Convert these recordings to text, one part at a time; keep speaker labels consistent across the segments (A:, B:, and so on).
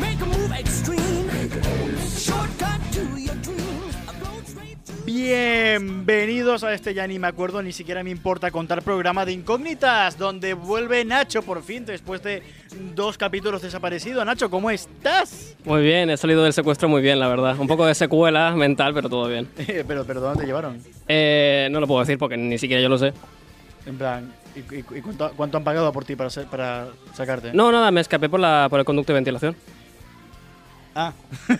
A: Make a move extreme. Shortcut to your dreams. A road straight to
B: Bienvenidos a este, ya ni me acuerdo, ni siquiera me importa contar programa de incógnitas, donde vuelve Nacho por fin después de dos capítulos desaparecido. Nacho, ¿cómo estás?
C: Muy bien, he salido del secuestro muy bien, la verdad. Un poco de secuela mental, pero todo bien.
B: Eh, pero, pero ¿dónde te llevaron?
C: Eh, no lo puedo decir porque ni siquiera yo lo sé.
B: En plan, ¿y, y- y cuánto, cuánto han pagado por ti para, ser- para sacarte?
C: No, nada, me escapé por, la, por el conducto de ventilación.
B: Ah,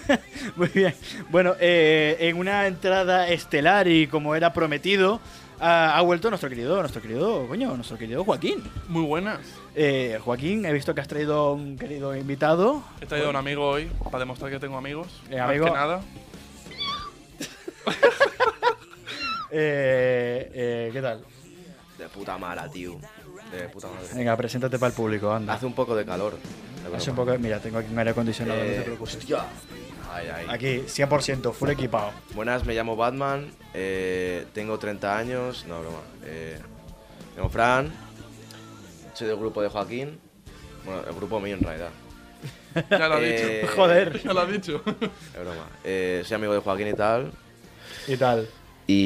B: muy bien. Bueno, eh, en una entrada estelar y como era prometido, ha, ha vuelto nuestro querido, nuestro querido, coño, nuestro querido Joaquín.
D: Muy buenas.
B: Eh, Joaquín, he visto que has traído un querido invitado.
D: He traído a un amigo hoy para demostrar que tengo amigos.
B: Eh,
D: más
B: amigo.
D: que nada.
B: Eh, eh, ¿Qué tal?
E: De puta mala, tío. De puta madre.
B: Venga, preséntate para el público, anda.
E: Hace un poco de calor.
B: Hace un poco, mira, tengo aquí un aire acondicionado, no te preocupes.
E: Hostia. Ay, ay.
B: Aquí, 100%, full equipado.
E: Buenas, me llamo Batman. eh, tengo 30 años. No, broma. Eh, me llamo Fran. Soy del grupo de Joaquín. Bueno, el grupo mío en realidad.
D: Ya lo ha dicho.
E: Eh,
B: Joder.
D: Ya lo ha dicho.
E: Es broma. Eh, soy amigo de Joaquín y tal.
B: ¿Y tal?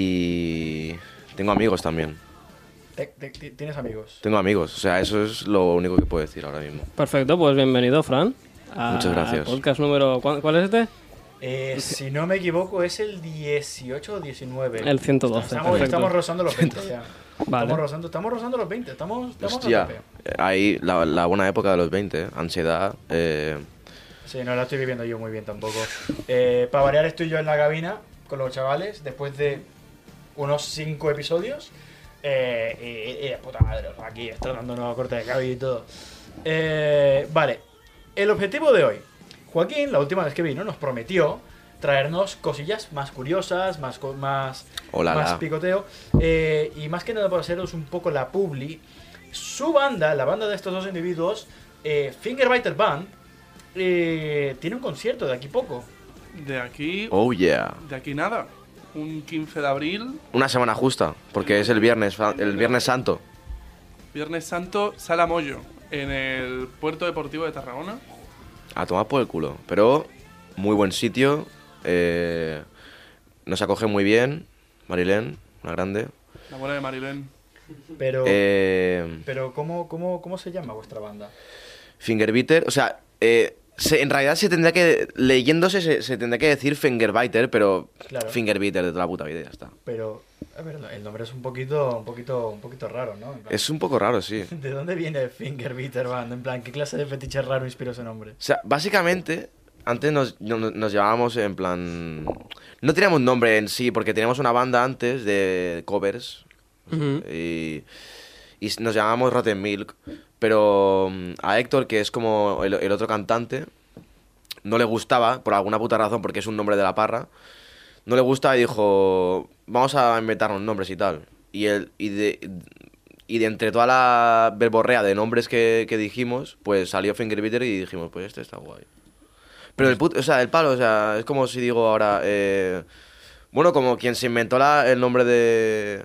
E: Y tengo amigos también.
B: Te- te- ti- ¿Tienes amigos?
E: Tengo amigos. O sea, eso es lo único que puedo decir ahora mismo.
C: Perfecto, pues bienvenido, Fran. a-
E: Muchas gracias.
C: al Podcast número. ¿cuál, cuál es este?
B: Eh, si no me equivoco, es el 18 o 19.
C: El 112.
B: Estamos,
C: perfecto.
B: estamos rozando los 20 ya.
C: Vale.
B: Estamos, rozando, estamos rozando los 20, estamos, estamos a
E: Hostia.
B: tope.
E: eh, Ahí, la, la buena época de los 20. eh, Ansiedad. Eh,
B: Sí, no la estoy viviendo yo muy bien tampoco. Eh, para variar, estoy yo en la cabina con los chavales después de unos 5 episodios. Eh, y, y de puta madre, o sea, aquí está dando nueva corte de cabello y todo. Eh, vale, el objetivo de hoy. Joaquín, la última vez que vino, nos prometió traernos cosillas más curiosas, más, co- más,
E: Hola,
B: más
E: la.
B: picoteo. eh, y más que nada para haceros un poco la publi. Su banda, la banda de estos dos individuos, eh, Fingerbiter Band, eh, tiene un concierto de aquí poco.
D: De aquí.
E: oh, yeah.
D: De aquí nada. Un 15 de abril,
E: Una semana justa, porque es el viernes, fa- el viernes santo.
D: Viernes Santo, Sala Moyo, en el Puerto Deportivo de Tarragona.
E: A tomar por el culo. Pero muy buen sitio. eh, nos acoge muy bien. Marilén, una grande.
D: La abuela de Marilén.
B: Pero,
E: Eh,
B: pero ¿cómo, cómo, ¿cómo se llama vuestra banda?
E: Fingerbiter, o sea, eh, se- en realidad se tendría que, leyéndose, se, se tendría que decir Fingerbiter, pero
B: Claro.
E: Fingerbiter de toda la puta vida, y ya está.
B: Pero, a ver, el nombre es un poquito, un poquito, un poquito raro, ¿no? En plan,
E: Es un poco raro, sí.
B: ¿De dónde viene Fingerbiter Band? En plan, ¿qué clase de fetiche raro inspiró ese nombre?
E: O sea, básicamente, antes nos, no- no- nos llevábamos en plan. No teníamos nombre en sí, porque teníamos una banda antes de covers.
C: Ujú.
E: y, y s- nos llamábamos Rotten Milk. Pero mm, a Héctor, que es como el, el otro cantante, no le gustaba, por alguna puta razón, porque es un nombre de la parra. No le gusta y dijo: Vamos a inventarnos nombres y tal. Y, el, y de. Y de entre toda la verborrea de nombres que, que dijimos, pues salió Fingerbitter y dijimos, pues este está guay. Pero el puto, o sea, el palo, o sea, es como si digo ahora, eh, bueno, como quien se inventó la- el nombre de...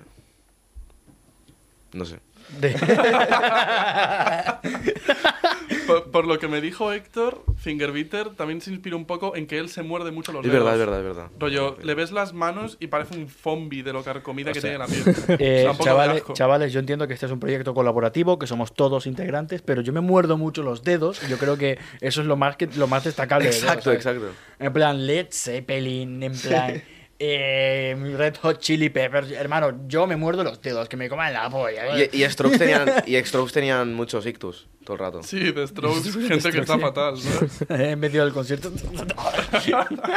E: No sé.
D: Por, por lo que me dijo Héctor, Fingerbiter también se inspira un poco en que él se muerde mucho los
E: Es
D: dedos.
E: verdad, es verdad, es verdad.
D: Rollo, le ves las manos y parece un zombie de lo carcomida que tiene
E: Hostia.
D: la piel. O sea, un poco de
B: Eh, chavales,
D: asco.
B: chavales, yo entiendo que este es un proyecto colaborativo, que somos todos integrantes, pero yo me muerdo mucho los dedos y yo creo que eso es lo más, que, lo más destacable. de todo,
E: Exacto,
B: ¿sabes?
E: exacto.
B: En plan, Led Zeppelin, en plan, eh, Red Hot Chili Peppers. Hermano, yo me muerdo los dedos, que me coman la polla.
E: Y, y Strokes tenían, y Strokes tenían muchos ictus todo el rato.
D: Sí, de Strokes, gente que está fatal, ¿no?
B: en medio del concierto.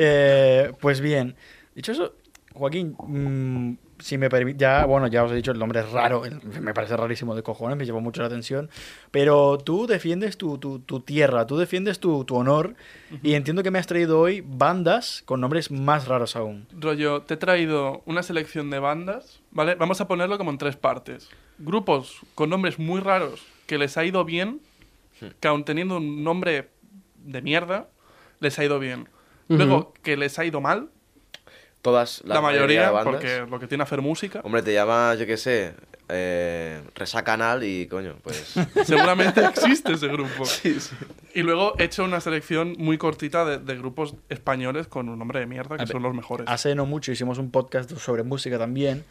B: Eh, pues bien, dicho eso, Joaquín, mm, si me permite, ya, bueno, ya os he dicho, el nombre es raro, el- me parece rarísimo de cojones, me lleva mucho la atención, pero tú defiendes tu, tu- tu tierra, tú defiendes tu, tu honor, y entiendo que me has traído hoy bandas con nombres más raros aún.
D: Rollo, te he traído una selección de bandas, ¿vale? Vamos a ponerlo como en tres partes. Grupos con nombres muy raros que les ha ido bien, que aun teniendo un nombre de mierda, les ha ido bien. Luego, que les ha ido mal,
E: Todas,
D: la,
E: la,
D: mayoría,
E: de bandas.
D: porque lo que tiene hacer música.
E: Hombre, te llama, yo qué sé, eh, Resacanal y coño, pues.
D: Seguramente existe ese grupo. Y luego he hecho una selección muy cortita de, de grupos españoles con un nombre de mierda, que
B: A ver,
D: son los mejores.
B: Hace no mucho hicimos un podcast sobre música también.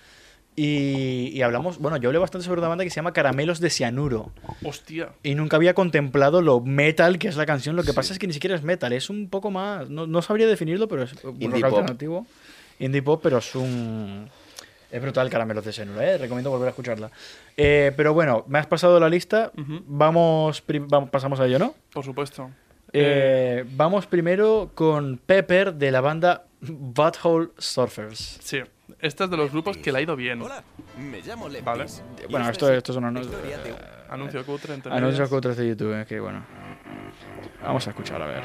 B: Y, y hablamos, bueno, yo hablé bastante sobre una banda que se llama Caramelos de Cianuro.
D: Hostia.
B: Y nunca había contemplado lo metal que es la canción. Lo que pasa es que ni siquiera es metal, es un poco más. No, no sabría definirlo, pero es un
E: Indie
B: rock
E: pop.
B: alternativo. Indie pop, pero es un. Es brutal Caramelos de Cianuro, ¿eh? Recomiendo volver a escucharla. Eh, pero bueno, me has pasado la lista.
D: Ujú.
B: vamos, pri- vamos, pasamos a ello, ¿no?
D: Por supuesto.
B: Eh, vamos primero con Pepper de la banda Butthole Surfers.
D: Sí. Este es de los grupos que le ha ido bien.
A: Hola, me llamo Lepis.
D: Vale.
A: y
B: Bueno,
A: esta
B: esto,
A: es
B: esto es una no-
A: historia de-
D: Eh, Anuncio cutre, entre
B: anuncios
D: medias.
B: que otros de YouTube, eh, que bueno. Vamos a escuchar, a ver.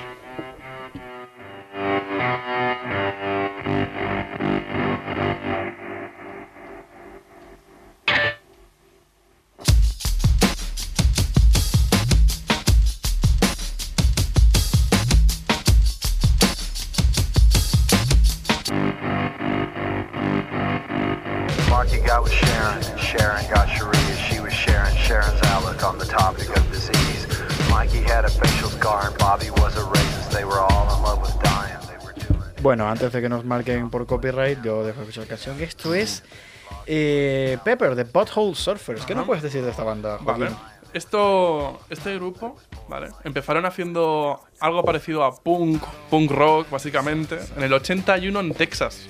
F: Marky got with Sharon, and Sharon got Sharia. She was sharing Sharon's outlook on the topic of disease. Mikey had a facial scar, and Bobby was a racist. They were all in love with dying. They were doing it.
B: Bueno, antes de que nos marquen por copyright, yo dejo escuchar la canción. Esto es eh, Pepper de Butthole Surfers. ¿Qué nos puedes decir de esta banda, Joaquín?
D: Vale. Esto, este grupo, ¿vale? Empezaron haciendo algo parecido a punk, punk rock, básicamente, en el 81 en Texas.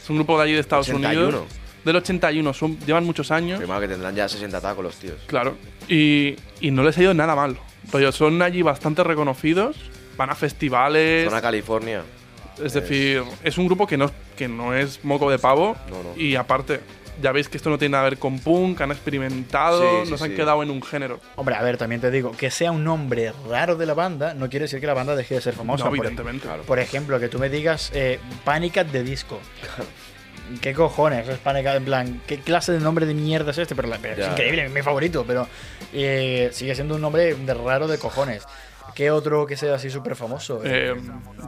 D: Es un grupo de allí de Estados
E: 81.
D: Unidos. Del 81, son, llevan muchos años.
E: Primero que tendrán ya 60 tacos los tíos.
D: Claro. Y, y no les ha ido nada mal. Rollo, son allí bastante reconocidos, van a festivales.
E: Zona California.
D: Es decir, es un grupo que no, que no es moco de pavo.
E: No, no.
D: Y aparte, ya veis que esto no tiene nada que ver con punk, han experimentado,
E: Sí, sí,
D: nos han
E: sí.
D: quedado en un género.
B: Hombre, a ver, también te digo, que sea un nombre raro de la banda no quiere decir que la banda deje de ser famosa.
D: no,
B: por-
D: evidentemente.
B: Por ejemplo, que tú me digas eh, Panic at the Disco. ¿Qué cojones es Panic at- En plan, ¿qué clase de nombre de mierda es este? Pero, la- pero es
E: Ya.
B: increíble, mi favorito, pero eh, sigue siendo un nombre de raro de cojones. ¿Qué otro que sea así súper famoso?
D: Eh,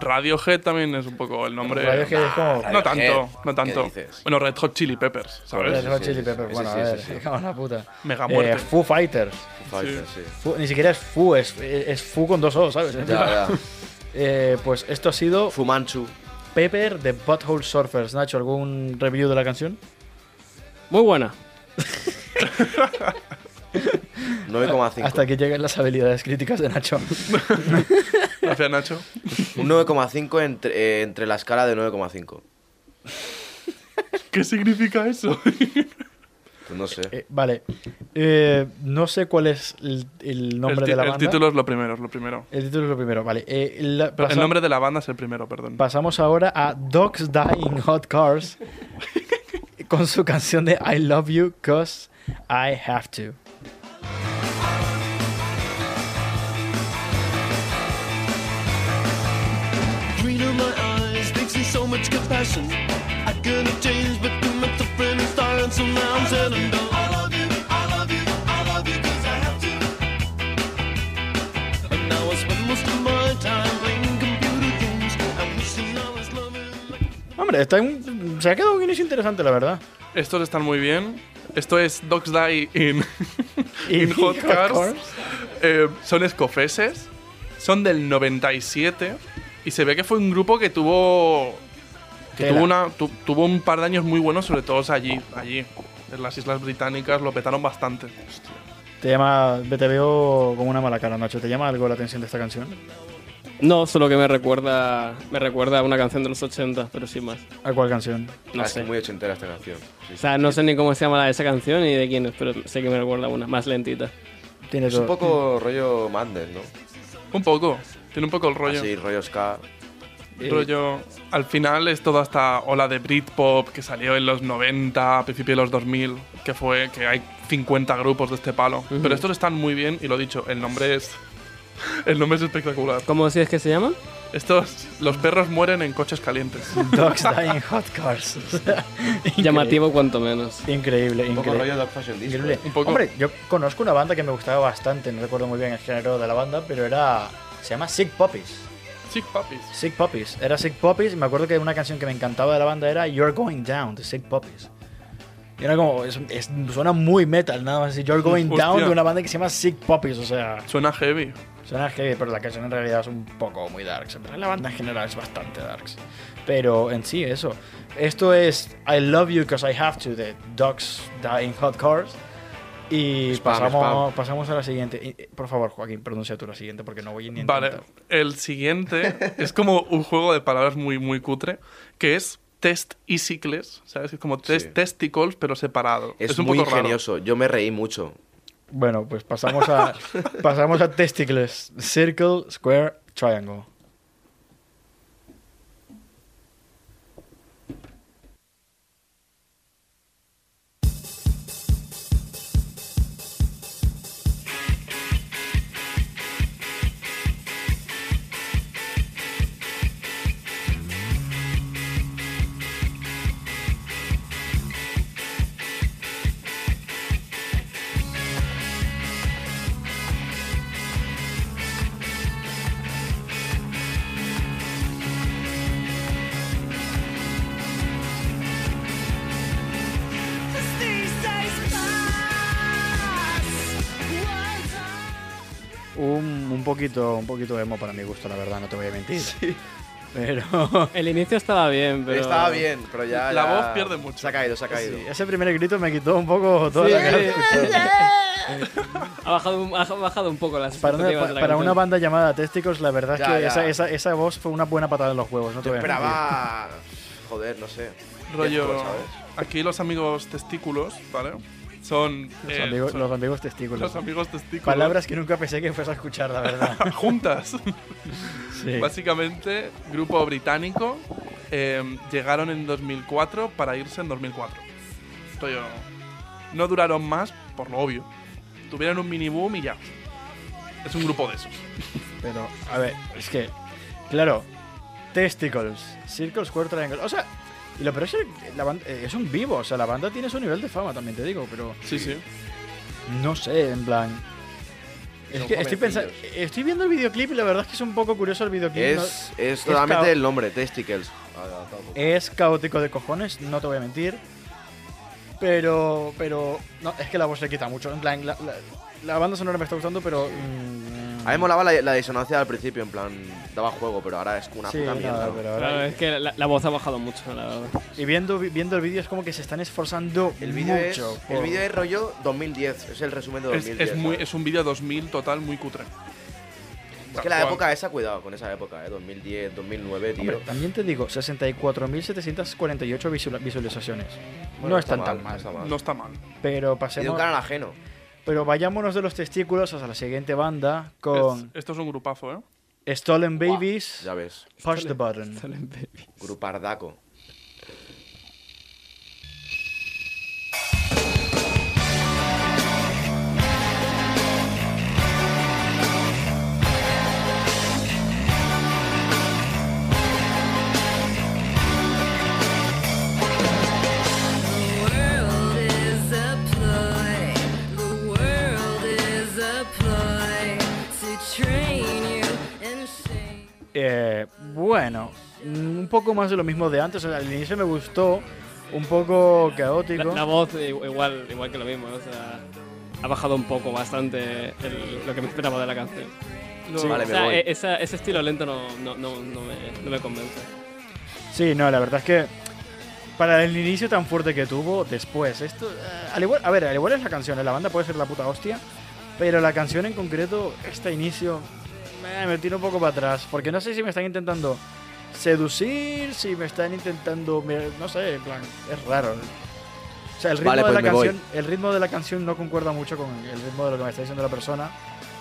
D: Radiohead también es un poco el nombre.
B: Radiohead es como-
D: No
E: Radiohead,
D: tanto, no
E: ¿qué
D: tanto.
E: dices?
D: Bueno, Red Hot Chili Peppers, ¿sabes?
B: Red Hot
E: sí,
B: Chili
E: sí,
B: Peppers.
E: sí,
B: Bueno,
E: sí,
B: a
E: sí,
B: ver,
E: sí.
B: me cago en la puta.
D: Mega
B: Eh,
D: muerte.
B: Foo Fighters.
E: Fighter, sí.
B: Foo- ni siquiera es Foo, es, es Foo con dos O, ¿sabes?
E: Ya, ya.
B: Eh, pues esto ha sido
E: Fumanchu.
B: Pepper de Butthole Surfers. Nacho, ¿algún review de la canción?
C: Muy buena.
E: 9,5.
B: Hasta aquí llegan las habilidades críticas de Nacho.
D: Gracias, Nacho.
E: Un 9,5 entre, eh, entre la escala de 9,5.
D: ¿Qué significa eso?
E: Pues no sé.
B: Eh, vale. Eh, no sé cuál es el, el nombre
D: el, ti-
B: de la
D: el
B: banda.
D: título es lo primero, es lo primero.
B: El título es lo primero, vale. Eh, la-
D: Pero el
B: pasa-
D: nombre de la banda es el primero, perdón.
B: Pasamos ahora a Dogs Die in Hot Cars con su canción de I Love You Cause I Have To.
A: green in my eyes, they see so much compassion. I couldn't change, but you met the friendly star, and so now I'm sad and done. I love you, I love you, I love you, cause I have to. And now I spend most of my time playing computer games. I'm wishing I was loving.
B: Hombre, está un- se ha quedado un inicio interesante, la verdad.
D: Estos están muy bien. Esto es Dogs Die in, in Hot Cars. Eh, son escofeses. Son del 97. Y se ve que fue un grupo que tuvo. Que
B: Tela.
D: tuvo, una, tu- tuvo un par de años muy buenos, sobre todo allí, allí. En las Islas Británicas lo petaron bastante.
B: Te llama, te veo con una mala cara, Nacho. ¿Te llama algo la atención de esta canción?
C: No, solo que me recuerda, me recuerda a una canción de los 80, pero sin más.
B: ¿A cuál canción?
C: No
E: Ah,
C: sé.
E: Es muy ochentera esta canción. Sí,
C: O
E: sí.
C: sea, no sé ni cómo se llama la de esa canción ni de quién es, pero sé que me recuerda a una, más lentita.
B: Tiene
E: Es un
B: todo.
E: poco rollo Mandel, ¿no?
D: Un poco. Tiene un poco el rollo.
E: Así, rollo ska.
C: Eh,
D: Rollo, al final es toda esta ola de Britpop que salió en los 90, a principios de los 2000, que fue que hay 50 grupos de este palo. Pero estos están muy bien y lo dicho, el nombre es el nombre es espectacular.
C: ¿Cómo decías que se llama?
D: Estos los perros mueren en coches calientes.
B: Dogs Dying Hot Cars. O sea, increíble.
C: Llamativo cuanto menos.
B: Increíble,
E: Un poco rollo
B: increíble.
E: Dark Fashion Disco.
B: Increíble.
D: Un poco.
B: Hombre, yo conozco una banda que me gustaba bastante, no recuerdo muy bien el género de la banda, pero era. Se llama Sick Puppies.
D: Chick Puppies.
B: Sick Puppies. Era Sick Puppies y me acuerdo que una canción que me encantaba de la banda era You're Going Down de Sick Puppies. Y era como, es- es- suena muy metal, nada más. decir You're Going
D: Hostia.
B: Down de una banda que se llama Sick Puppies, o sea,
D: Suena heavy.
B: suena heavy, pero la canción en realidad es un poco muy darks. En realidad la banda en general es bastante darks. Pero en sí, eso. Esto es I Love You Cause I Have To de Dogs Die in Hot Cars. Y
E: Spam,
B: pasamos, pasamos a la siguiente. Y, eh, Por favor, Joaquín, pronuncia tú la siguiente porque no voy ni a
D: Vale,
B: intentar.
D: el siguiente es como un juego de palabras muy, muy cutre, que es test y cicles, ¿sabes? Es como test,
E: Sí.
D: testicles, pero separado.
E: Es,
D: Es, un
E: muy
D: poco raro.
E: ingenioso. Yo me reí mucho.
B: Bueno, pues pasamos a, pasamos a testicles. Circle, square, triangle. Un, un poquito un poquito emo para mi gusto, la verdad, no te voy a mentir. Pero
C: El inicio estaba bien, pero.
E: Estaba bien, pero ya.
D: La
E: ya-
D: voz pierde mucho.
E: Se ha caído, se ha caído.
B: ese primer grito me quitó un poco toda la cara.
C: Ha bajado, un- ha bajado un poco las
B: Para una,
C: expectativas de la
B: para una
C: canción.
B: banda llamada Testicles, la verdad es
E: Ya,
B: que
E: ya.
B: Esa, esa- esa voz fue una buena patada en los huevos, no te
E: Yo
B: voy a mentir.
E: esperaba. Joder, no sé.
D: Rollo,
E: Disco, pues, ¿sabes?
D: aquí los amigos testículos, ¿vale? Son,
B: Los
D: eh,
B: amigos,
D: son
B: los amigos testículos.
D: los amigos testículos.
B: Palabras que nunca pensé que fuese a escuchar, la verdad.
D: juntas.
B: Sí.
D: Básicamente, grupo británico, eh, llegaron en 2004 para irse en 2004. Esto yo- no duraron más, por lo obvio. Tuvieron un mini boom y ya. Es un grupo de esos.
B: Pero, a ver, es que, claro, Testicles, Circle Square Triangle. O sea, y lo peor es que la banda, eh, es un vivo, o sea, la banda tiene su nivel de fama, también te digo, pero
D: Sí, sí.
B: no sé, en plan. Es
E: Son
B: que estoy pensando,
E: jovencillos.
B: estoy viendo el videoclip y la verdad es que es un poco curioso el videoclip.
E: Es,
B: ¿no?
E: es totalmente
B: cao-
E: el nombre, Testicles.
B: es caótico de cojones, no te voy a mentir. Pero, pero, no, es que la voz le quita mucho. En plan, la, la- la banda sonora me está gustando, pero. mm,
E: A mí molaba la, la disonancia al principio, en plan, daba juego, pero ahora es una
B: sí,
E: puta mierda.
B: nada, pero ahora-
C: Claro, es que la, la voz ha bajado mucho, la verdad.
B: Y viendo, vi- viendo el vídeo es como que se están esforzando
E: El vídeo es,
B: mucho.
E: el
B: por-
E: vídeo es rollo 2010, es el resumen de
D: Es,
E: 2010.
D: es muy,
E: ¿sabes?
D: es un vídeo 2000 total muy cutre.
E: Es que la época esa, cuidado con esa época, eh, 2010, 2009, tío.
B: Hombre, también te digo, 64.748 visual- visualizaciones.
E: Bueno,
B: no están tan
E: no
B: mal.
E: está
D: No está mal.
B: Pero
E: Y de un
B: pasemos.
E: canal ajeno.
B: Pero vayámonos de los testículos hasta la siguiente banda con
D: Es- esto es un grupazo, ¿eh?
B: Stolen Babies,
E: Ya ves,
B: Push the Button.
E: grupardaco.
B: Eh, bueno, mm, un poco más de lo mismo de antes. O sea, al inicio me gustó, un poco
C: La,
B: caótico.
C: la voz i- igual, igual que lo mismo, o sea, ha bajado un poco bastante el- lo que me esperaba de la canción.
D: Lo-
E: Vale,
C: O
E: me
C: sea,
E: voy.
C: e- esa- ese estilo lento no, no, no, no me, no me convence.
B: Sí, no, la verdad es que para el inicio tan fuerte que tuvo, después, esto. eh, al igual, a ver, al igual es la canción, eh, la banda puede ser la puta hostia, pero la canción en concreto, este inicio, eh, me tiro un poco para atrás, porque no sé si me están intentando seducir, si me están intentando. me- No sé, en plan, es raro. O sea, el ritmo,
E: Vale,
B: de
E: pues
B: la
E: me voy.
B: canción, el ritmo de la canción no concuerda mucho con el ritmo de lo que me está diciendo la persona,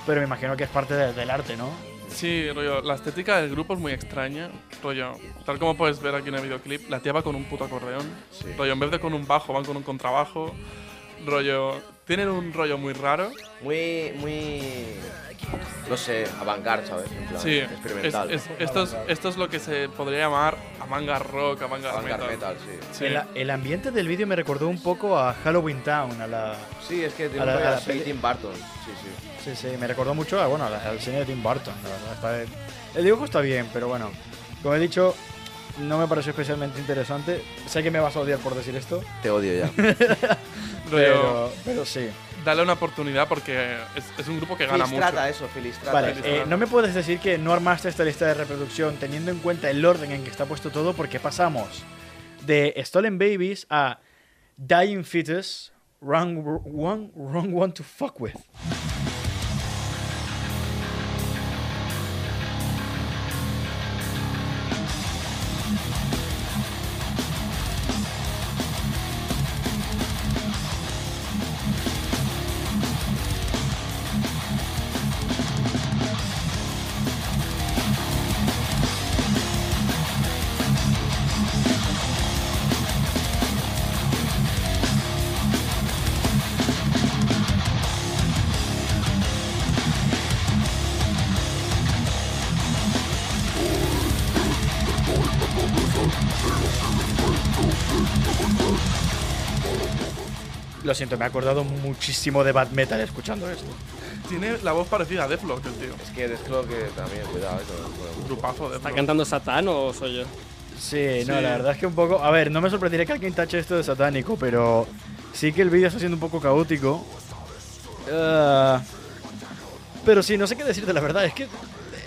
B: pero me imagino que es parte de- del arte, ¿no?
D: Sí, rollo, la estética del grupo es muy extraña. Rollo, tal como puedes ver aquí en el videoclip, la tía va con un puto acordeón.
E: Sí.
D: Rollo, en vez de con un bajo, van con un contrabajo. Rollo, tienen un rollo muy raro.
E: Muy, muy. No sé, avant-garde, ¿sabes? En plan,
D: Sí,
E: experimental.
D: es- es- esto, es, esto es lo que se podría llamar manga rock, manga metal.
E: avant-garde metal, sí.
D: Sí.
B: El, el ambiente del vídeo me recordó un poco a Halloween Town, a la.
E: Sí, es que tiene
B: A
E: un
B: la-
E: rollo
B: a la
E: así
B: peli-
E: Tim Burton. Sí, sí.
B: Sí, sí, me recordó mucho a, bueno, a la- al cine de Tim Burton, la verdad. Está- el dibujo está bien, pero bueno, como he dicho, no me pareció especialmente interesante. Sé que me vas a odiar por decir esto,
E: Te odio ya.
D: Rollo,
B: pero, pero sí.
D: dale una oportunidad porque es, es un grupo que gana
E: Feliz
D: mucho.
E: trata eso, feliz trata.
B: Vale,
D: sí,
B: eh,
D: sí.
B: no me puedes decir que no armaste esta lista de reproducción teniendo en cuenta el orden en que está puesto todo, porque pasamos de Stolen Babies a Dying Fetus, Wrong, wrong, wrong One to Fuck With. Lo siento, me he acordado muchísimo de Bad Metal escuchando esto.
D: Tiene la voz parecida a Deflock, el tío.
E: Es que Deathclaw que también, cuidado, eh, con- con-
D: Grupazo,
C: ¿Está
D: Deathlock.
C: cantando Satán o soy yo?
B: Sí, no, la
D: Sí.
B: verdad es que un poco. A ver, no me sorprendería que alguien tache esto de satánico, pero sí que el vídeo está siendo un poco caótico. Ah, pero sí, no sé qué decirte, la verdad. Es que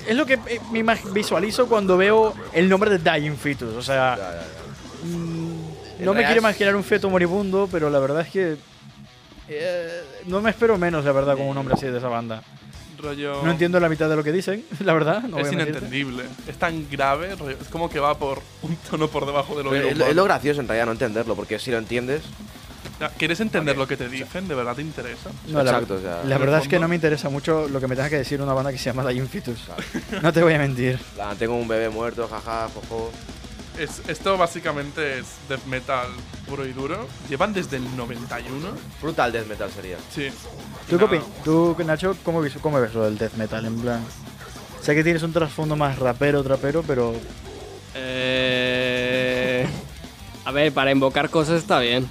B: es lo que eh, me imag- visualizo cuando veo el nombre de Dying Fetus. O sea,
E: Ya, ya, ya.
B: mm,
E: En
B: no me
E: realidad
B: quiero
E: es-
B: imaginar un feto moribundo, pero la verdad es que. eh, no me espero menos, la verdad, con
E: Eh,
B: un nombre así de esa banda.
D: Rollo,
B: No entiendo la mitad de lo que dicen, la verdad. No voy
D: Es
B: a mentirte.
D: inentendible. Es tan grave, rollo, es como que va por un tono por debajo de lo
E: Pero
D: que
E: es, lo- es lo gracioso en realidad no entenderlo, porque si lo entiendes,
D: Ya, ¿Quieres entender lo que te dicen? ¿De verdad te interesa?
B: No, la,
E: Exacto, o sea,
B: la
D: en
B: verdad
D: el
B: es que
D: fondo-
B: no me interesa mucho lo que me tenga que decir una banda que se llama Dying Fetus. No te voy a mentir.
E: la- tengo un bebé muerto, jaja, jojo.
D: Es, esto básicamente es death metal puro y duro. Llevan desde el 91.
E: Brutal death metal sería.
D: Sí.
B: ¿Tú, qué
D: No,
B: opin- tú, Nacho, cómo, vis- cómo ves lo del death metal? En plan, sé que tienes un trasfondo más rapero, trapero, pero
C: Eh... A ver, para invocar cosas está bien.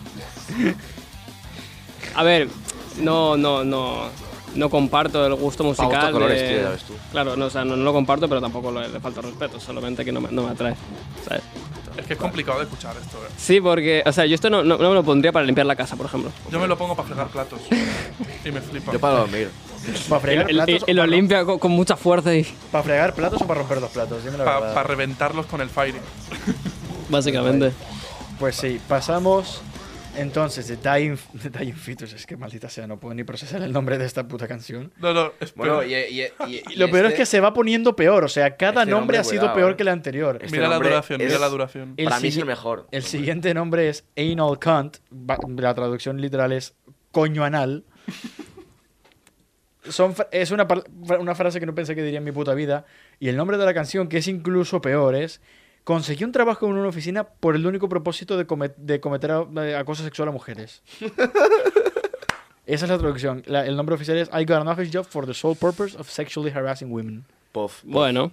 C: A ver, no, no, no. No comparto el gusto musical.
E: gustos colores,
C: de-
E: tío, ya ves tú.
C: Claro, no, o sea, no, no lo comparto, pero tampoco le, le falta respeto, solamente que no me, no me atrae. ¿sabes?
D: Es que es complicado de escuchar esto. eh.
C: Sí, porque, o sea, yo esto no, no- no me lo pondría para limpiar la casa, por ejemplo.
D: Yo me lo pongo para fregar platos. y me flipa.
E: Yo para dormir.
B: ¿para
C: Y,
B: fregar,
C: y-
B: platos,
C: y
B: o
C: lo
B: para-
C: limpia con, con mucha fuerza y.
B: ¿Para fregar platos o para romper los platos? Dime la
D: Para
B: verdad.
D: reventarlos con el fire.
C: Básicamente.
B: Pues sí, pasamos entonces de Dying, de Dying Fetus. Es que maldita sea, no puedo ni procesar el nombre de esta puta canción.
D: No, no, espera.
E: Bueno, y, y- y- y
B: Lo peor es
E: este-
B: que se va poniendo peor, o sea, cada
E: este
B: nombre
E: nombre,
B: ha sido
E: cuidado,
B: peor
E: eh.
B: que el anterior.
E: este
D: mira la
E: nombre
D: duración, mira
E: es-
D: la duración.
B: El
E: Para mí es
B: sigui-
E: el mejor.
B: El siguiente nombre es Anal Cunt. va- La traducción literal es coño anal. Son, fra- es una, par- fra- una frase que no pensé que diría en mi puta vida. Y el nombre de la canción, que es incluso peor, es Conseguí un trabajo en una oficina por el único propósito de, come- de cometer a- de acoso sexual a mujeres. Esa es la traducción. La- el nombre oficial es I got an office job for the sole purpose of sexually harassing women.
E: Puff,
C: Bueno,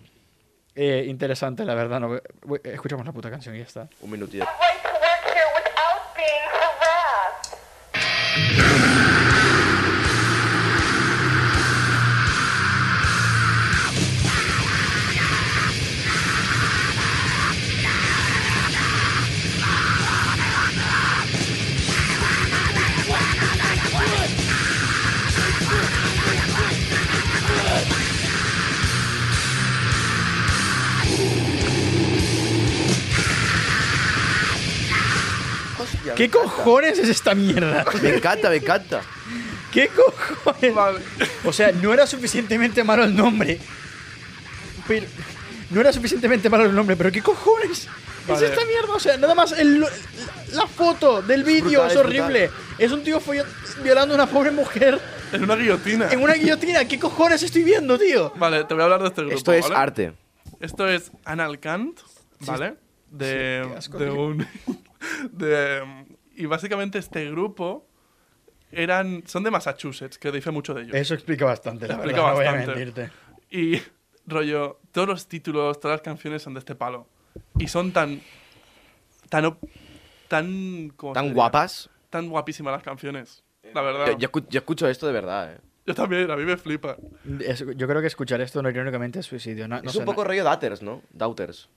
B: Eh, interesante, la verdad. no- eh, escuchamos la puta canción y ya está.
E: un minutito.
G: right to work here without being harassed.
B: ¿Qué cojones es esta mierda?
E: Me encanta, me encanta.
B: ¿Qué cojones? O sea, no era suficientemente malo el nombre. Pero- no era suficientemente malo el nombre, pero ¿qué cojones?
D: Vale.
B: Es esta mierda, o sea, nada más el- la, la foto del vídeo
E: brutal,
B: es
E: es brutal.
B: horrible. Es un tío follo- violando a una pobre mujer
D: En una guillotina.
B: En una guillotina, ¿qué cojones estoy viendo, tío?
D: Vale, te voy a hablar de este grupo.
E: Esto es
D: ¿vale?
E: arte.
D: Esto es Analcant, ¿vale? De,
B: qué asco,
D: de
B: tío.
D: un. de- y básicamente este grupo eran. Son de Massachusetts, que dice mucho de ellos.
B: Eso explica bastante, la
D: Explica
B: verdad. No voy
D: bastante.
B: a mentirte.
D: Y rollo, todos los títulos, todas las canciones son de este palo. Y son tan. tan. op- tan. ¿cómo se
E: Tan
D: diría?
E: guapas.
D: Tan guapísimas las canciones. La verdad.
E: Yo, yo escu- yo escucho esto de verdad, eh.
D: Yo también, a mí me flipa.
B: Es- yo creo que escuchar esto no irónicamente es suicidio. Na- no
E: es
B: sé,
E: un poco
B: Na-
E: rollo Doubters, ¿no? Doubters.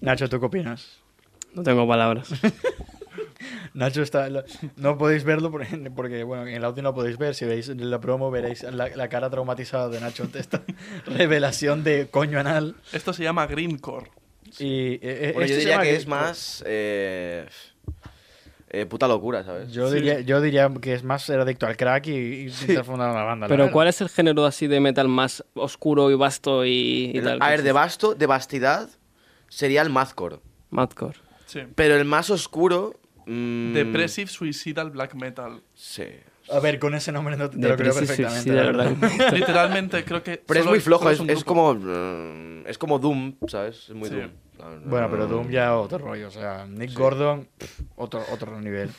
B: Nacho, ¿tú qué opinas?
C: No tengo palabras.
B: Nacho está. lo- no podéis verlo porque, porque, bueno, en el audio no podéis ver. Si veis la promo, veréis la, la cara traumatizada de Nacho ante esta revelación de coño anal.
D: Esto se llama Greencore.
B: Y, eh,
D: Este
B: eh, esto
E: Bueno, yo
B: se
E: diría
B: llama
E: que es
B: Green-
E: más. Eh, eh, puta locura, ¿sabes?
B: Yo, diría, yo diría que es más ser adicto al crack y, y intentar fundar una banda. la
C: Pero
B: verdad.
C: ¿cuál es el género así de metal más oscuro y vasto y, y tal?
E: a ver, de vasto, de vastidad, sería el Mazcore.
C: Madcore.
D: Sí.
E: Pero el más oscuro. mm,
D: Depressive Suicidal Black Metal.
E: Sí.
B: A ver, con ese nombre no te, te lo creo
C: Depressive
B: perfectamente.
C: Suicidal
B: la verdad.
C: Black Metal.
D: Literalmente creo que.
E: Pero es
D: solo-
E: muy flojo,
D: solo
E: es,
D: un
E: es
D: grupo.
E: como. mm, es como Doom, ¿sabes? Es muy
D: Sí.
E: Doom.
B: Bueno,
D: Mm.
B: pero Doom ya otro rollo. O sea, Nick Gordon, pff, otro, otro nivel.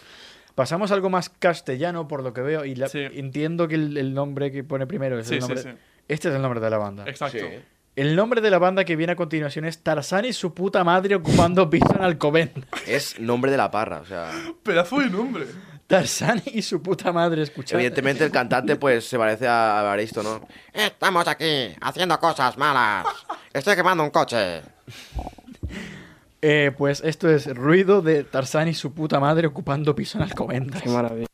B: Pasamos a algo más castellano, por lo que veo. Y la-
D: Sí.
B: entiendo que el, el nombre que pone primero es
D: Sí,
B: el
D: sí,
B: nombre.
D: sí.
B: Este es el nombre de la banda.
D: Exacto.
E: Sí.
B: El nombre de la banda que viene a continuación es Tarzán y su puta madre ocupando piso en Alcobendas.
E: Es nombre de la parra, o sea.
D: Pedazo de nombre.
B: Tarzán y su puta madre, escuchad.
E: Evidentemente el
B: eh,
E: cantante pues se parece a Baristo, ¿no?
H: Estamos aquí haciendo cosas malas. Estoy quemando un coche.
B: Eh, pues esto es ruido de Tarzán y su puta madre ocupando piso en Alcobendas.
C: Qué maravilla.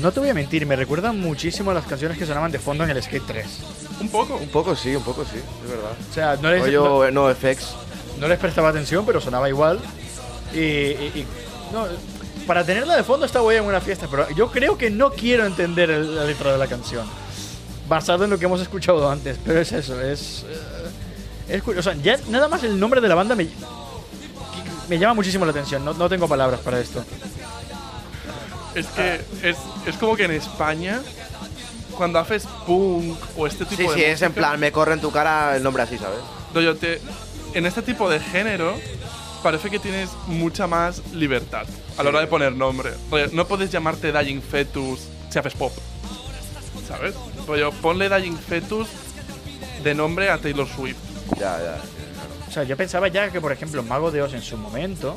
B: No te voy a mentir, me recuerdan muchísimo a las canciones que sonaban de fondo en el Skate 3.
D: Un poco.
E: Un poco sí, un poco sí, es verdad.
B: O sea, no les, no-
E: Rollo eh, no FX.
B: No les prestaba atención, pero sonaba igual. Y, y- y- no, para tenerla de fondo está guay en una fiesta, pero yo creo que no quiero entender el- la letra de la canción. Basado en lo que hemos escuchado antes, pero es eso, es. eh, es curioso. O sea, ya nada más el nombre de la banda me, me llama muchísimo la atención. No, no tengo palabras para esto.
D: Es que es, es como que en España, cuando haces punk o este tipo
E: Sí,
D: de.
E: sí, es en
D: música,
E: plan, me corre en tu cara el nombre así, ¿sabes?
D: rollo, te- en este tipo de género, parece que tienes mucha más libertad a la hora de poner nombre. Rollo, no puedes llamarte Dying Fetus si haces pop. ¿Sabes? Rollo, ponle Dying Fetus de nombre a Taylor Swift.
E: Ya, ya.
B: O sea, yo pensaba ya que, por ejemplo, Mago de Oz en su momento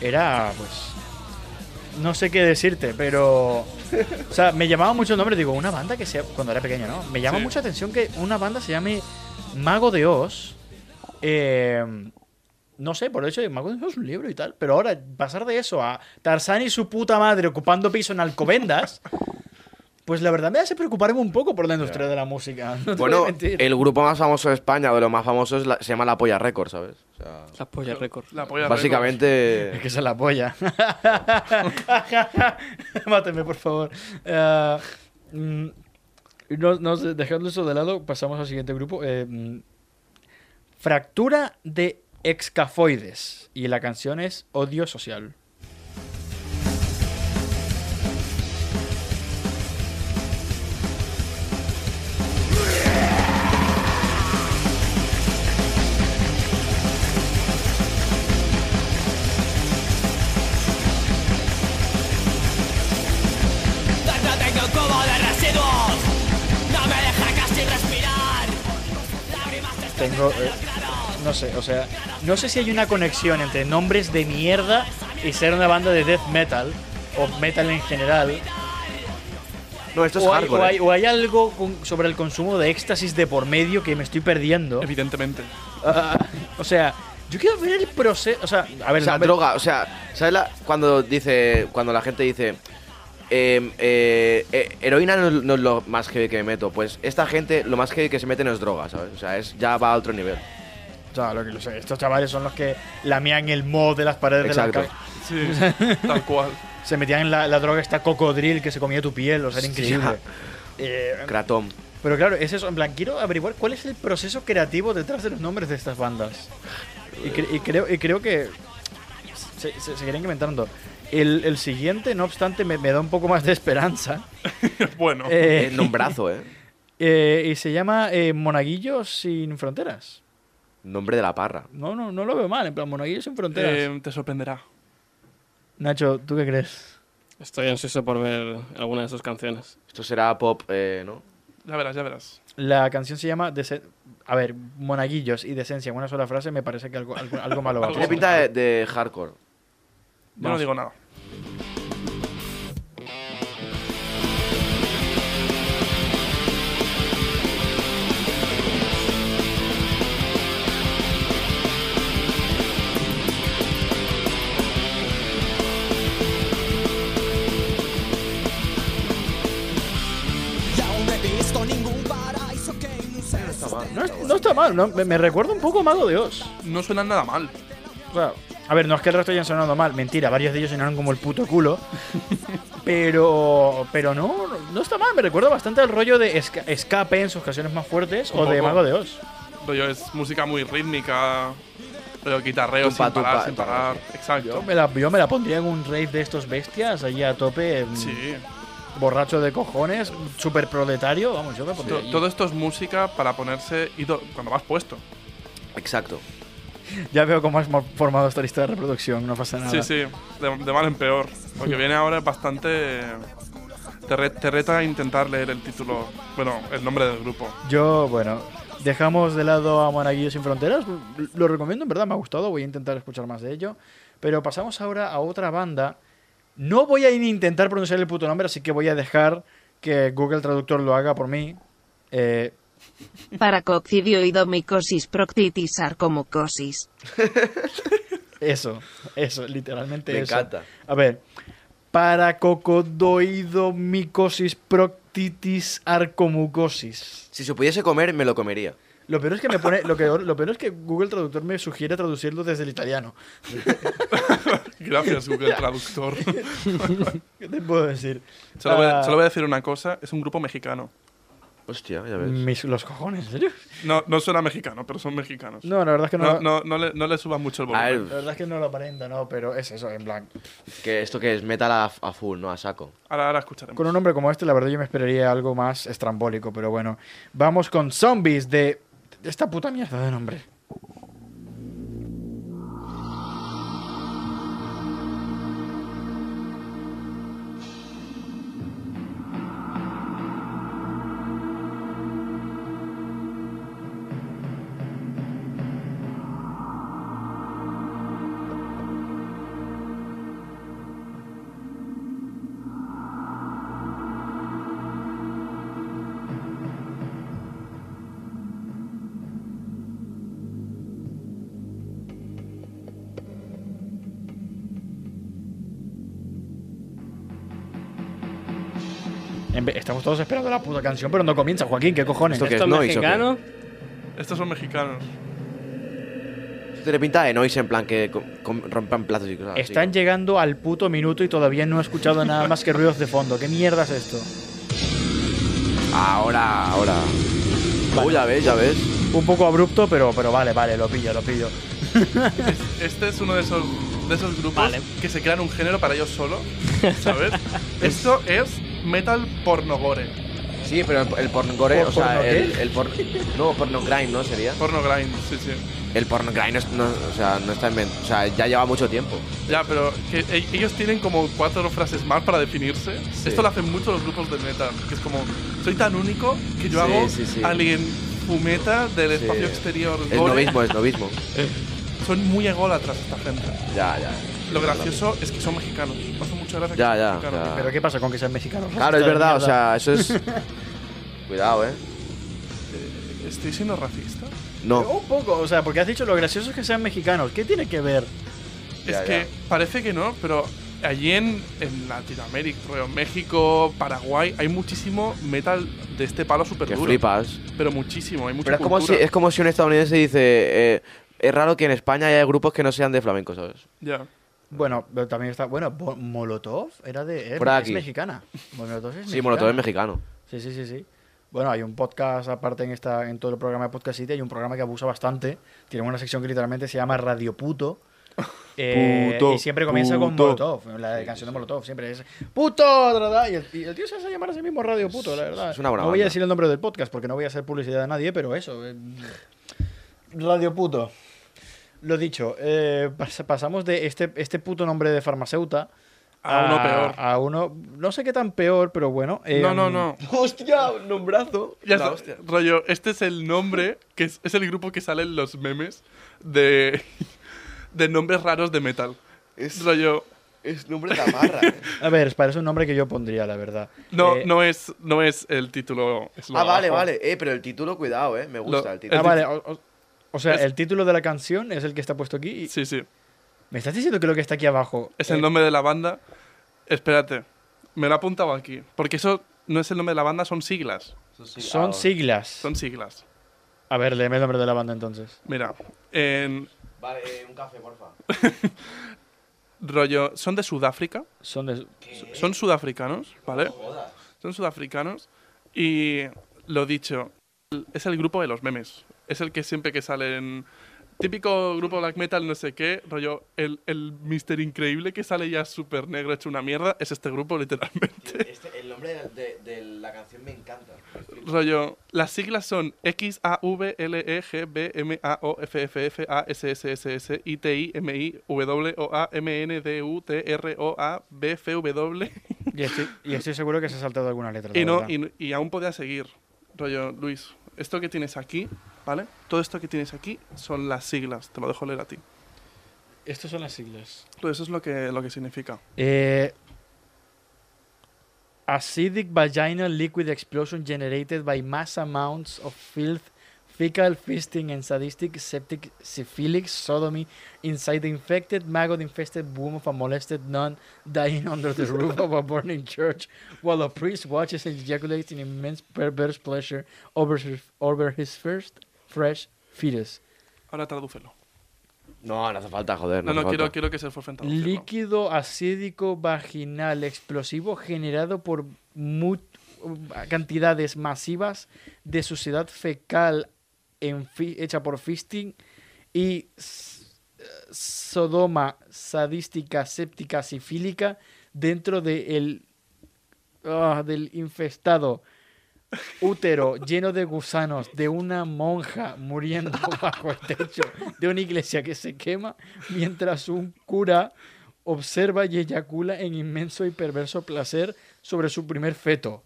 B: era, pues. No sé qué decirte, pero. O sea, me llamaba mucho el nombre. Digo, una banda que sea. Cuando era pequeño, ¿no? Me llama
D: Sí.
B: mucha atención que una banda se llame Mago de Oz. Eh, no sé, por el hecho de que Mago de Oz es un libro y tal. Pero ahora, pasar de eso a Tarzán y su puta madre ocupando piso en Alcobendas. Pues la verdad me hace preocuparme un poco por la industria de la música. No te voy a
E: Bueno,
B: mentir.
E: el grupo más famoso de España, de los más famosos, la- se llama La Polla Records, ¿sabes? O sea,
C: Las pollas récord.
D: La polla récord.
E: básicamente...
B: Es que se la apoya. Máteme, por favor. Eh, mm, no, no sé, dejando eso de lado, pasamos al siguiente grupo. Eh, mm, fractura de excafoides. Y la canción es Odio Social. Tengo. eh, no sé, o sea. No sé si hay una conexión entre nombres de mierda y ser una banda de death metal. O metal en general.
E: No, esto es
B: o, hay,
E: hardcore.
B: o
E: ¿eh?
B: hay- o hay algo con- sobre el consumo de éxtasis de por medio que me estoy perdiendo.
D: Evidentemente.
B: Ah, o sea, yo quiero ver el proceso. O sea, a ver,
E: O sea,
B: el nombre-
E: droga, o sea, ¿sabes la- cuando dice, cuando la gente dice, eh, eh, eh, heroína no, es- no es lo más heavy que me meto. Pues esta gente, lo más heavy que se mete no es droga, ¿sabes? O sea, es, ya va a otro nivel.
B: O sea, lo que lo sé, estos chavales son los que lamían el mod de las paredes de
E: Exacto.
B: la casa.
D: Sí, tal cual.
B: Se metían en la, la droga esta cocodril que se comía tu piel, o sea, era
E: Sí,
B: increíble.
E: ja.
B: Eh,
E: Kratom.
B: pero claro, es eso. En plan, quiero averiguar cuál es el proceso creativo detrás de los nombres de estas bandas. Y, cre- y creo, y creo que se, se seguirá incrementando. El, el siguiente, no obstante, me, me da un poco más de esperanza.
D: bueno.
B: Eh,
E: Es nombrazo, ¿eh?
B: eh, y se llama eh, Monaguillos sin fronteras.
E: Nombre de la parra.
B: No, no, no lo veo mal, en plan, Monaguillos sin fronteras.
D: eh, te sorprenderá.
B: Nacho, ¿tú qué crees?
C: Estoy ansioso por ver alguna de sus canciones.
E: Esto será pop, eh, ¿no?
D: Ya verás, ya verás.
B: La canción se llama Dece- A ver, monaguillos y decencia en una sola frase me parece que algo, algo, algo malo va a
D: Algo
E: Tiene
B: pasar.
E: pinta de, de hardcore.
D: Yo no digo nada.
B: No, es- no está mal, no, me, me recuerda un poco a Mago de Oz.
D: No suena nada mal.
B: O sea, a ver, no es que el resto hayan sonado mal, mentira, varios de ellos sonaron como el puto culo. pero pero no, no está mal, me recuerda bastante al rollo de Esca- Escape en sus canciones más fuertes
D: Un
B: o de
D: poco.
B: Mago de Oz.
D: Rollo, es música muy rítmica. Pero guitarreo
E: Tumpa,
D: sin parar,
E: tumpa,
D: sin
E: tumpa.
D: parar.
B: Yo
D: Exacto.
B: me, la, yo me la pondría en un rave de estos bestias, allí a tope, mm,
D: Sí.
B: borracho de cojones, super proletario, vamos, yo me pondría
D: To-
B: allí.
D: Todo esto es música para ponerse y to- cuando vas puesto.
E: Exacto.
B: Ya veo cómo has mo- formado esta lista de reproducción, no pasa nada.
D: Sí, sí, de, de mal en peor. Lo que viene ahora es bastante... Te, re- te reta a intentar leer el título, bueno, el nombre del grupo.
B: Yo, bueno, dejamos de lado a Monaguillo sin Fronteras. Lo recomiendo, en verdad, me ha gustado. Voy a intentar escuchar más de ello. Pero pasamos ahora a otra banda. No voy a ni intentar pronunciar el puto nombre, así que voy a dejar que Google Traductor lo haga por mí. Eh,
I: Paracoccidioidomicosis proctitis sarcomucosis.
B: eso, eso, literalmente
E: Me
B: eso.
E: encanta.
B: A ver. Paracocodoidomicosis proctitis arcomucosis.
E: Si se pudiese comer, me lo comería.
B: Lo peor es que me pone. Lo, peor, lo peor es que Google Traductor me sugiere traducirlo desde el italiano.
D: Gracias, Google Traductor.
B: ¿Qué te puedo decir?
D: solo, voy a,
B: Ah,
D: solo voy a decir una cosa, es un grupo mexicano.
E: Hostia, ya ves.
B: mis, los cojones, ¿en serio?
D: No, no suena mexicano, pero son mexicanos.
B: No, la verdad es que no, lo-
D: No, no, no le, no le subas mucho el
E: A
B: La
D: volumen.
E: ver,
B: verdad es que no lo aparenta, no, pero es eso, en blanco.
E: que esto que es metal a, a full, ¿no? A saco.
D: Ahora, ahora escucharemos.
B: Con un nombre como este, la verdad yo me esperaría algo más estrambólico, pero bueno. Vamos con zombies de. de esta puta mierda de nombre. En vez- Estamos todos esperando la puta canción, pero no comienza, Joaquín, ¿qué cojones?
E: Esto que
C: ¿Esto
E: es
C: es
E: noise, ¿o qué?
C: mexicano?
D: Estos son mexicanos.
E: Esto tiene pinta de noise en plan que com- com- rompan platos y cosas así,
B: Están
E: ¿no?
B: llegando al puto minuto y todavía no he escuchado nada más que ruidos de fondo. ¿Qué mierda es esto?
E: Ahora, ahora. Uy, ya ves, ya ves.
B: Un poco abrupto, pero, pero vale, vale, lo pillo, lo pillo.
D: Este es uno de esos, de esos grupos
C: Vale.
D: que se crean un género para ellos solos, ¿sabes? Esto es metal pornogore,
E: Sí, pero el, el porngore,
B: ¿Por-
E: o sea,
B: porno qué?
E: el, el por- No, porno grind, ¿no? Sería.
D: porno grind, sí, sí.
E: El porno grind no, es- no- o sea, no está inventado. O sea, ya lleva mucho tiempo.
D: Ya, pero que e- ellos tienen como cuatro frases más para definirse.
E: Sí.
D: Esto lo hacen mucho los grupos de metal, que es como, soy tan único que yo
E: Sí,
D: hago
E: sí, sí.
D: alien fumeta del
E: Sí.
D: espacio exterior.
E: Es
D: gore".
E: novismo, es novismo.
D: Son muy ególatras esta gente.
E: Ya, ya.
D: Lo gracioso es que son mexicanos. Me hace mucha gracia
E: Ya,
D: que
E: ya,
D: son mexicanos.
E: ya.
B: Pero ¿qué pasa con que sean mexicanos?
E: Ah. Claro, es
B: Esta
E: verdad, o
B: mierda.
E: sea, eso es. Cuidado, eh.
D: ¿Estoy siendo racista?
E: No.
B: Un poco, o sea, porque has dicho lo gracioso es que sean mexicanos. ¿Qué tiene que ver?
E: Ya,
D: es que
E: ya.
D: parece que no, pero allí en, en Latinoamérica, creo, México, Paraguay, hay muchísimo metal de este palo súper
E: Que
D: duro.
E: flipas.
D: Pero muchísimo, hay mucha
E: Pero es como, si,
D: cultura.
E: es como si un estadounidense dice, eh, es raro que en España haya grupos que no sean de flamenco, ¿sabes?
D: Ya.
B: Bueno, pero también está. Bueno, Bo- Molotov era de. eh, Es,
E: Por
B: es
E: aquí.
B: mexicana. Molotov es mexicana.
E: Sí, Molotov es mexicano.
B: Sí, sí, sí, sí. Bueno, hay un podcast aparte en esta, en todo el programa de Podcast City, hay un programa que abusa bastante. Tiene una sección que literalmente se llama Radio Puto. Eh,
D: Puto,
B: y siempre comienza con
D: puto.
B: Molotov, la canción de Molotov, siempre es puto, da, da, da, y el, y el tío se hace llamar a sí mismo Radio Puto, la verdad.
E: Es una buena
B: no voy a
E: banda.
B: decir el nombre del podcast porque no voy a hacer publicidad a nadie, pero eso, eh, Radio Puto. Lo dicho, eh, pas- pasamos de este, este puto nombre de farmacéuta
D: A uno peor.
B: A uno, no sé qué tan peor, pero bueno.
D: No,
B: em,
D: no, no.
E: ¡Hostia! Un nombrazo.
D: Ya está. Rollo, este es el nombre, que es, es el grupo que sale en los memes de, de nombres raros de metal.
E: Es-
D: Rollo,
E: Es nombre de la barra. eh.
B: A ver, parece un nombre que yo pondría, la verdad.
D: no,
B: Eh,
D: no, es, no es el título. es lo
E: ah, vale,
D: abajo.
E: vale. Eh, pero el título, cuidado, eh. Me gusta
D: Lo-
E: el título.
B: Ah,
D: el
B: vale. O, o- o sea,
D: Es-
B: el título de la canción es el que está puesto aquí. y-
D: Sí, sí.
B: ¿Me estás diciendo que lo que está aquí abajo
D: Es
B: eh,
D: el nombre de la banda. Espérate, me lo he apuntado aquí. Porque eso no es el nombre de la banda, son siglas.
E: Ah,
B: son siglas?
D: Son siglas.
B: A ver, léeme el nombre de la banda entonces.
D: Mira, en
E: Vale, eh, un café, porfa.
D: rollo, son de Sudáfrica.
B: Son de.
D: Son sudafricanos, ¿vale? Son sudafricanos. Y lo dicho, l- es el grupo de los memes. Es el que siempre que salen. Típico grupo black metal, no sé qué, rollo. El, el Mister Increíble que sale ya súper negro, hecho una mierda, es este grupo, literalmente.
E: el nombre de, la canción me encanta.
D: Rollo, las siglas son X A V L E G B M A O F F F A S S S S I T I M I W O A M N D U T R O A B F W
B: Y estoy, y estoy seguro que se ha saltado alguna letra. la
D: y no
B: verdad.
D: y, y aún podía seguir. Rollo, Luis, esto que tienes aquí, ¿vale? Todo esto que tienes aquí son las siglas, te lo dejo leer a ti.
B: Estas son las siglas.
D: Entonces eso es lo que lo que significa.
B: Eh, acidic vaginal liquid explosion generated by mass amounts of filth, fecal fisting, and sadistic septic syphilic sodomy inside the infected, maggot-infested womb of a molested nun dying under the roof of a burning church while a priest watches and ejaculates in immense perverse pleasure over his, over his first fresh fetus.
D: Ahora tradúcelo.
E: No, no hace falta, joder.
D: No,
E: No,
D: no,
E: hace
D: quiero,
E: falta.
D: quiero que se esfuercen traduzco.
B: Líquido acídico vaginal explosivo generado por mu- cantidades masivas de suciedad fecal en fi- hecha por fisting y s- eh, sodoma sadística, séptica, sifílica dentro de el- ah, del infestado útero lleno de gusanos de una monja muriendo bajo el techo de una iglesia que se quema mientras un cura observa y eyacula en inmenso y perverso placer sobre su primer feto.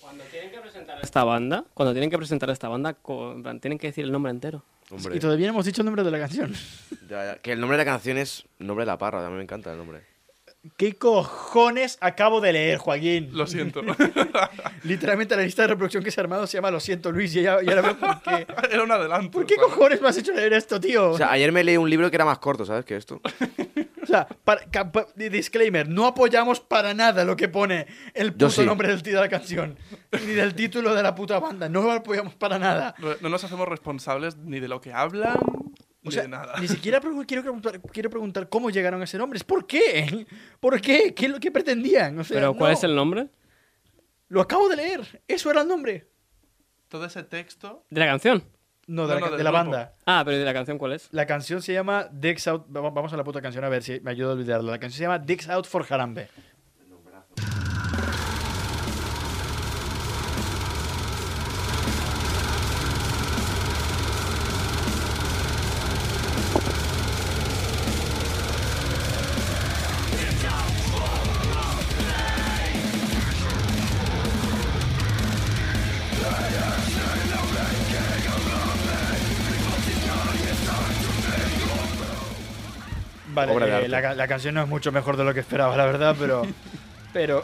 C: Cuando tienen que presentar esta banda, cuando tienen que presentar esta banda, co- en plan, tienen que decir el nombre entero.
E: Hombre,
B: Y todavía no hemos dicho el nombre de la canción.
E: ya, ya. Que el nombre de la canción es nombre de la parra. A mí me encanta el nombre.
B: ¿Qué cojones acabo de leer, Joaquín?
D: Lo siento.
B: Literalmente la lista de reproducción que se ha armado se llama Lo siento, Luis, y ya, ya la veo por qué.
D: Era un adelanto.
B: ¿Por qué
D: ¿sabes?
B: cojones me has hecho leer esto, tío?
E: O sea, ayer me leí un libro que era más corto, ¿sabes? Que esto.
B: O sea, para- ca- pa- di- disclaimer, no apoyamos para nada lo que pone el
E: Yo
B: puto
E: sí.
B: nombre del tío de la canción, ni del título de la puta banda, no lo apoyamos para nada.
D: Re- No nos hacemos responsables ni de lo que hablan,
B: O
D: ni
B: sea,
D: de nada.
B: ni siquiera pregu- quiero preguntar, quiero preguntar cómo llegaron a ese nombre, es por qué, por qué, qué es lo que pretendían. O sea,
C: ¿Pero cuál
B: no.
C: es el nombre
B: Lo acabo de leer, eso era el nombre.
D: Todo ese texto.
C: de la canción?
B: No, de
D: No,
B: la,
D: no,
B: ca-
D: del
B: de la
D: grupo.
B: banda.
C: Ah, pero ¿y de la canción cuál es?
B: La canción se llama Dicks Out. va- Vamos a la puta canción a ver si me ayuda a olvidarla. La canción se llama Dicks Out for Harambe. Vale, eh,
E: Obra de arte.
B: eh, la, ca- la canción no es mucho mejor de lo que esperaba, la verdad, pero.
J: Pero.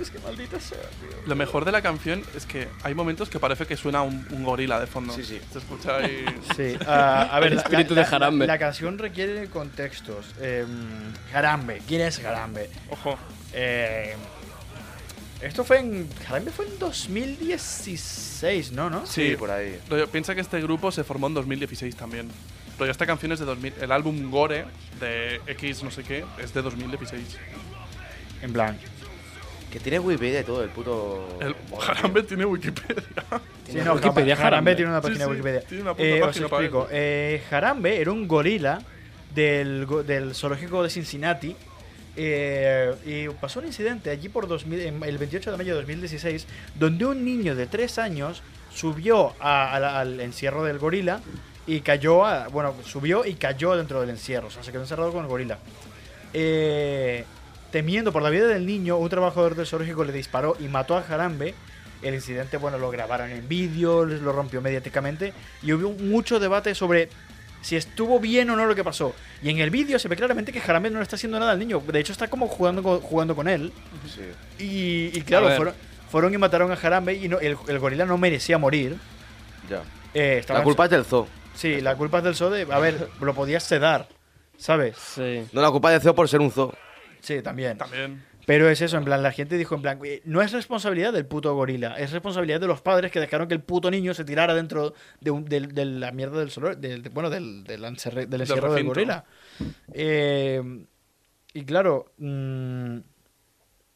J: es que maldita sea, tío.
D: Lo mejor de la canción es que hay momentos que parece que suena un, un gorila de fondo. Sí, sí. Se escucha ahí.
B: Sí, ah, a ver, la- la- la- La,
D: La,
B: canción requiere contextos. Eh, Jarambe, ¿quién es Jarambe? Ojo. esto fue en. Jarambe fue en 2016, ¿no? ¿No?
E: ahí.
D: piensa que este grupo se formó en 2016 también. Rollo, esta canción es de 2000. El álbum Gore de X no sé qué es de 2016.
B: En plan.
E: Que tiene Wikipedia y todo, el puto.
D: El Jarambe tiene Wikipedia.
B: Sí, no, Jarambe. tiene una página de Wikipedia.
D: Sí, tiene una puta
B: Eh, os
D: página para
B: explico. Eh, Jarambe era un gorila del, go- del zoológico de Cincinnati. eh, y pasó un incidente allí por 2000, en- el 28 de mayo de 2016, donde un niño de 3 años subió a- a la- al encierro del gorila y cayó, a- bueno, subió y cayó dentro del encierro, o sea, se quedó encerrado con el gorila. Eh, temiendo por la vida del niño, un trabajador del zoológico le disparó y mató a Jarambe. El incidente, bueno, lo grabaron en vídeo, les- lo rompió mediáticamente y hubo mucho debate sobre si estuvo bien o no lo que pasó. Y en el vídeo se ve claramente que Jarambe no le está haciendo nada al niño. De hecho, está como jugando con, jugando con él.
E: Sí.
B: Y, y
E: A
B: claro,
E: ver.
B: fueron, fueron y mataron a Jarambe y no- el, el gorila no merecía morir.
E: Ya.
B: Eh, estaba
E: La culpa es del zoo.
B: Sí, la culpa es del zoo de... A ver, lo podías sedar, ¿sabes?
C: Sí.
E: No, la culpa es del zoo por ser un zoo.
B: Sí, también.
D: También.
B: Pero es eso, en plan, la gente dijo en plan, "Eh, no es responsabilidad del puto gorila, es responsabilidad de los padres que dejaron que el puto niño se tirara dentro de, un- del- de la mierda del sol, del, de- bueno, del, del, encerre- del
D: Del
B: encierro del
D: recinto.
B: gorila. Eh, y claro, mm,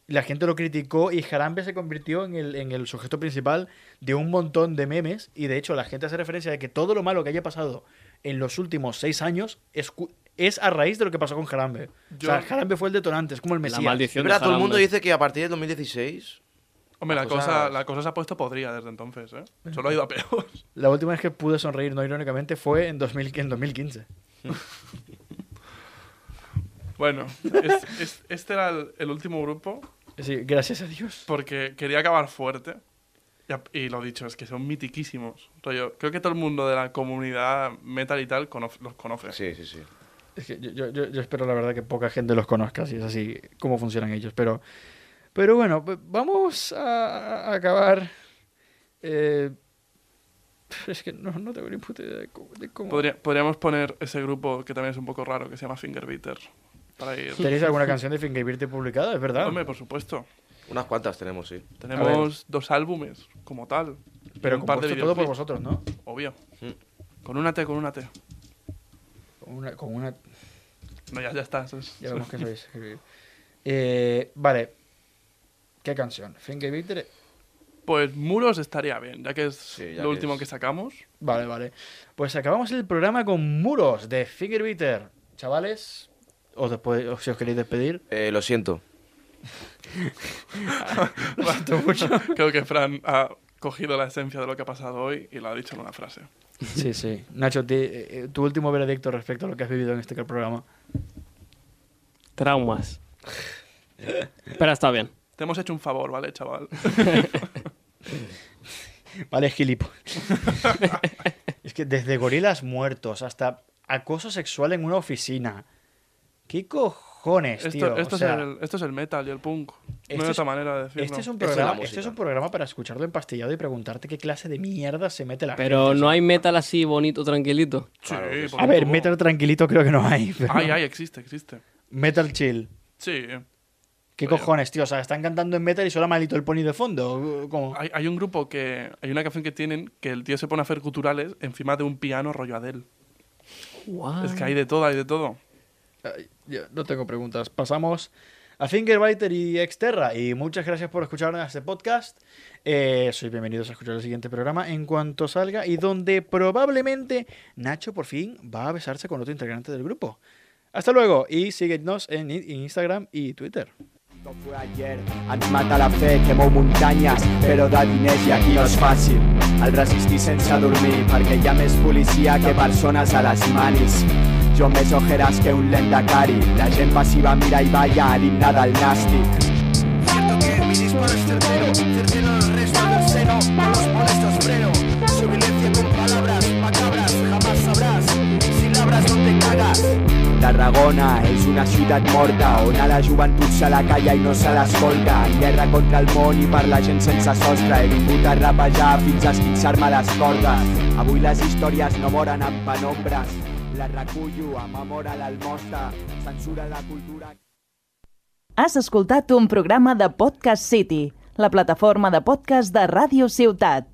B: la gente lo criticó y Jarambe se convirtió en el, en el sujeto principal de un montón de memes y de hecho la gente hace referencia de que todo lo malo que haya pasado en los últimos seis años es, cu- es a raíz de lo que pasó con Jarambe.
D: Yo-
B: o sea, Jarambe fue el detonante, es como el Mesías.
E: Es verdad, todo el mundo dice que a partir del 2016.
D: Hombre, la
E: las
D: cosa,
E: cosas-
D: la cosa se ha puesto podrida desde entonces, ¿eh? Solo ha ido a peor.
B: La última vez que pude sonreír, no irónicamente, fue en, 2000 en 2015.
D: Bueno, es- es- este era el, el último grupo.
B: Sí, gracias a Dios.
D: Porque quería acabar fuerte. Y, a- y lo dicho, es que son mitiquísimos. Rollo, creo que todo el mundo de la comunidad metal y tal cono- los conoce.
E: Sí, sí, sí.
B: Es que yo, yo- yo- yo espero, la verdad, que poca gente los conozca, si es así, cómo funcionan ellos. Pero, pero bueno, pues, vamos a, a acabar. Eh, es que no, no tengo ni puta idea de cómo. de cómo-
D: Podría- podríamos poner ese grupo que también es un poco raro, que se llama Fingerbeater. Para ir...
B: ¿Tenéis alguna canción de Fingerbeater publicada? Es verdad.
D: Hombre, por supuesto.
E: Unas cuantas tenemos, sí.
D: Tenemos dos álbumes, como tal. y
B: Pero
D: un par
B: compuesto
D: de
B: todo por
D: videoclips.
B: vosotros, ¿no?
D: Obvio. Con una T, con una T.
B: Con una, con una-
D: No, ya, ya está. eso es-
B: ya vemos que sabéis escribir. Eh, vale. ¿Qué canción? Fingerbeater.
D: Pues Muros estaría bien, ya que es
B: ya
D: lo
B: que
D: último
B: es-
D: que sacamos.
B: Vale, vale. Pues acabamos el programa con Muros de Fingerbeater. Chavales, os después, os- si os queréis despedir.
E: Eh, lo siento.
B: Lo siento mucho.
D: Creo que Fran ha cogido la esencia de lo que ha pasado hoy y lo ha dicho en una frase.
B: Sí, sí. Nacho, ti- eh, eh, tu último veredicto respecto a lo que has vivido en este programa.
C: Traumas. Pero está bien.
D: Te hemos hecho un favor, ¿vale, chaval?
B: Pues, Vale, gilipo. es que desde gorilas muertos hasta acoso sexual en una oficina. ¿Qué cojones,
D: esto,
B: tío? O
D: esto
B: sea,
D: es el, esto es el metal y el punk.
B: Este
D: no hay
B: es-
D: otra manera de decirlo.
B: este es, un programa, este es un programa para escucharlo empastillado y preguntarte qué clase de mierda se mete la
C: Pero
B: gente.
C: no hay metal así bonito, tranquilito.
B: A ver, metal tranquilito creo que no hay. pero-
D: Ay, ay, existe, existe.
B: Metal chill.
D: Sí.
B: ¿Qué cojones, tío? O sea, están cantando en metal y solo maldito el pony de fondo. ¿Cómo?
D: Hay, hay un grupo que. Hay una canción que tienen que el tío se pone a hacer culturales encima de un piano rollo Adele. Es que hay de todo, hay de todo.
B: Yo no tengo preguntas. Pasamos a Fingerbiter y Exterra. Y muchas gracias por escuchar este podcast. Eh, sois bienvenidos a escuchar el siguiente programa en cuanto salga y donde probablemente Nacho por fin va a besarse con otro integrante del grupo. Hasta luego y síguenos en in- Instagram y Twitter.
K: Fue ayer, animat a la fe, quemou muntanyes, però de diners i aquí no és fàcil. El resistir sense dormir, perquè hi ha més policia que persones a les manis. Jo amb més ojeres que un lent de cari, la gent passiva mira i balla a l'himne del nàstic. Cierto que mi disparo es certero, certero el resto del seno, a los molestos freno. Su violencia con palabras macabras, jamás sabrás, si labras no te cagas. La Tarragona és una ciutat morta on a la joventut se la calla i no se l'escolta. En guerra contra el món i per la gent sense sostre he vingut a rapejar fins a esquinçar-me les cordes. Avui les històries no moren en penombres, les recullo amb amor a l'almosta, censura la cultura...
L: Has escoltat un programa de Podcast City, la plataforma de podcast de Ràdio Ciutat.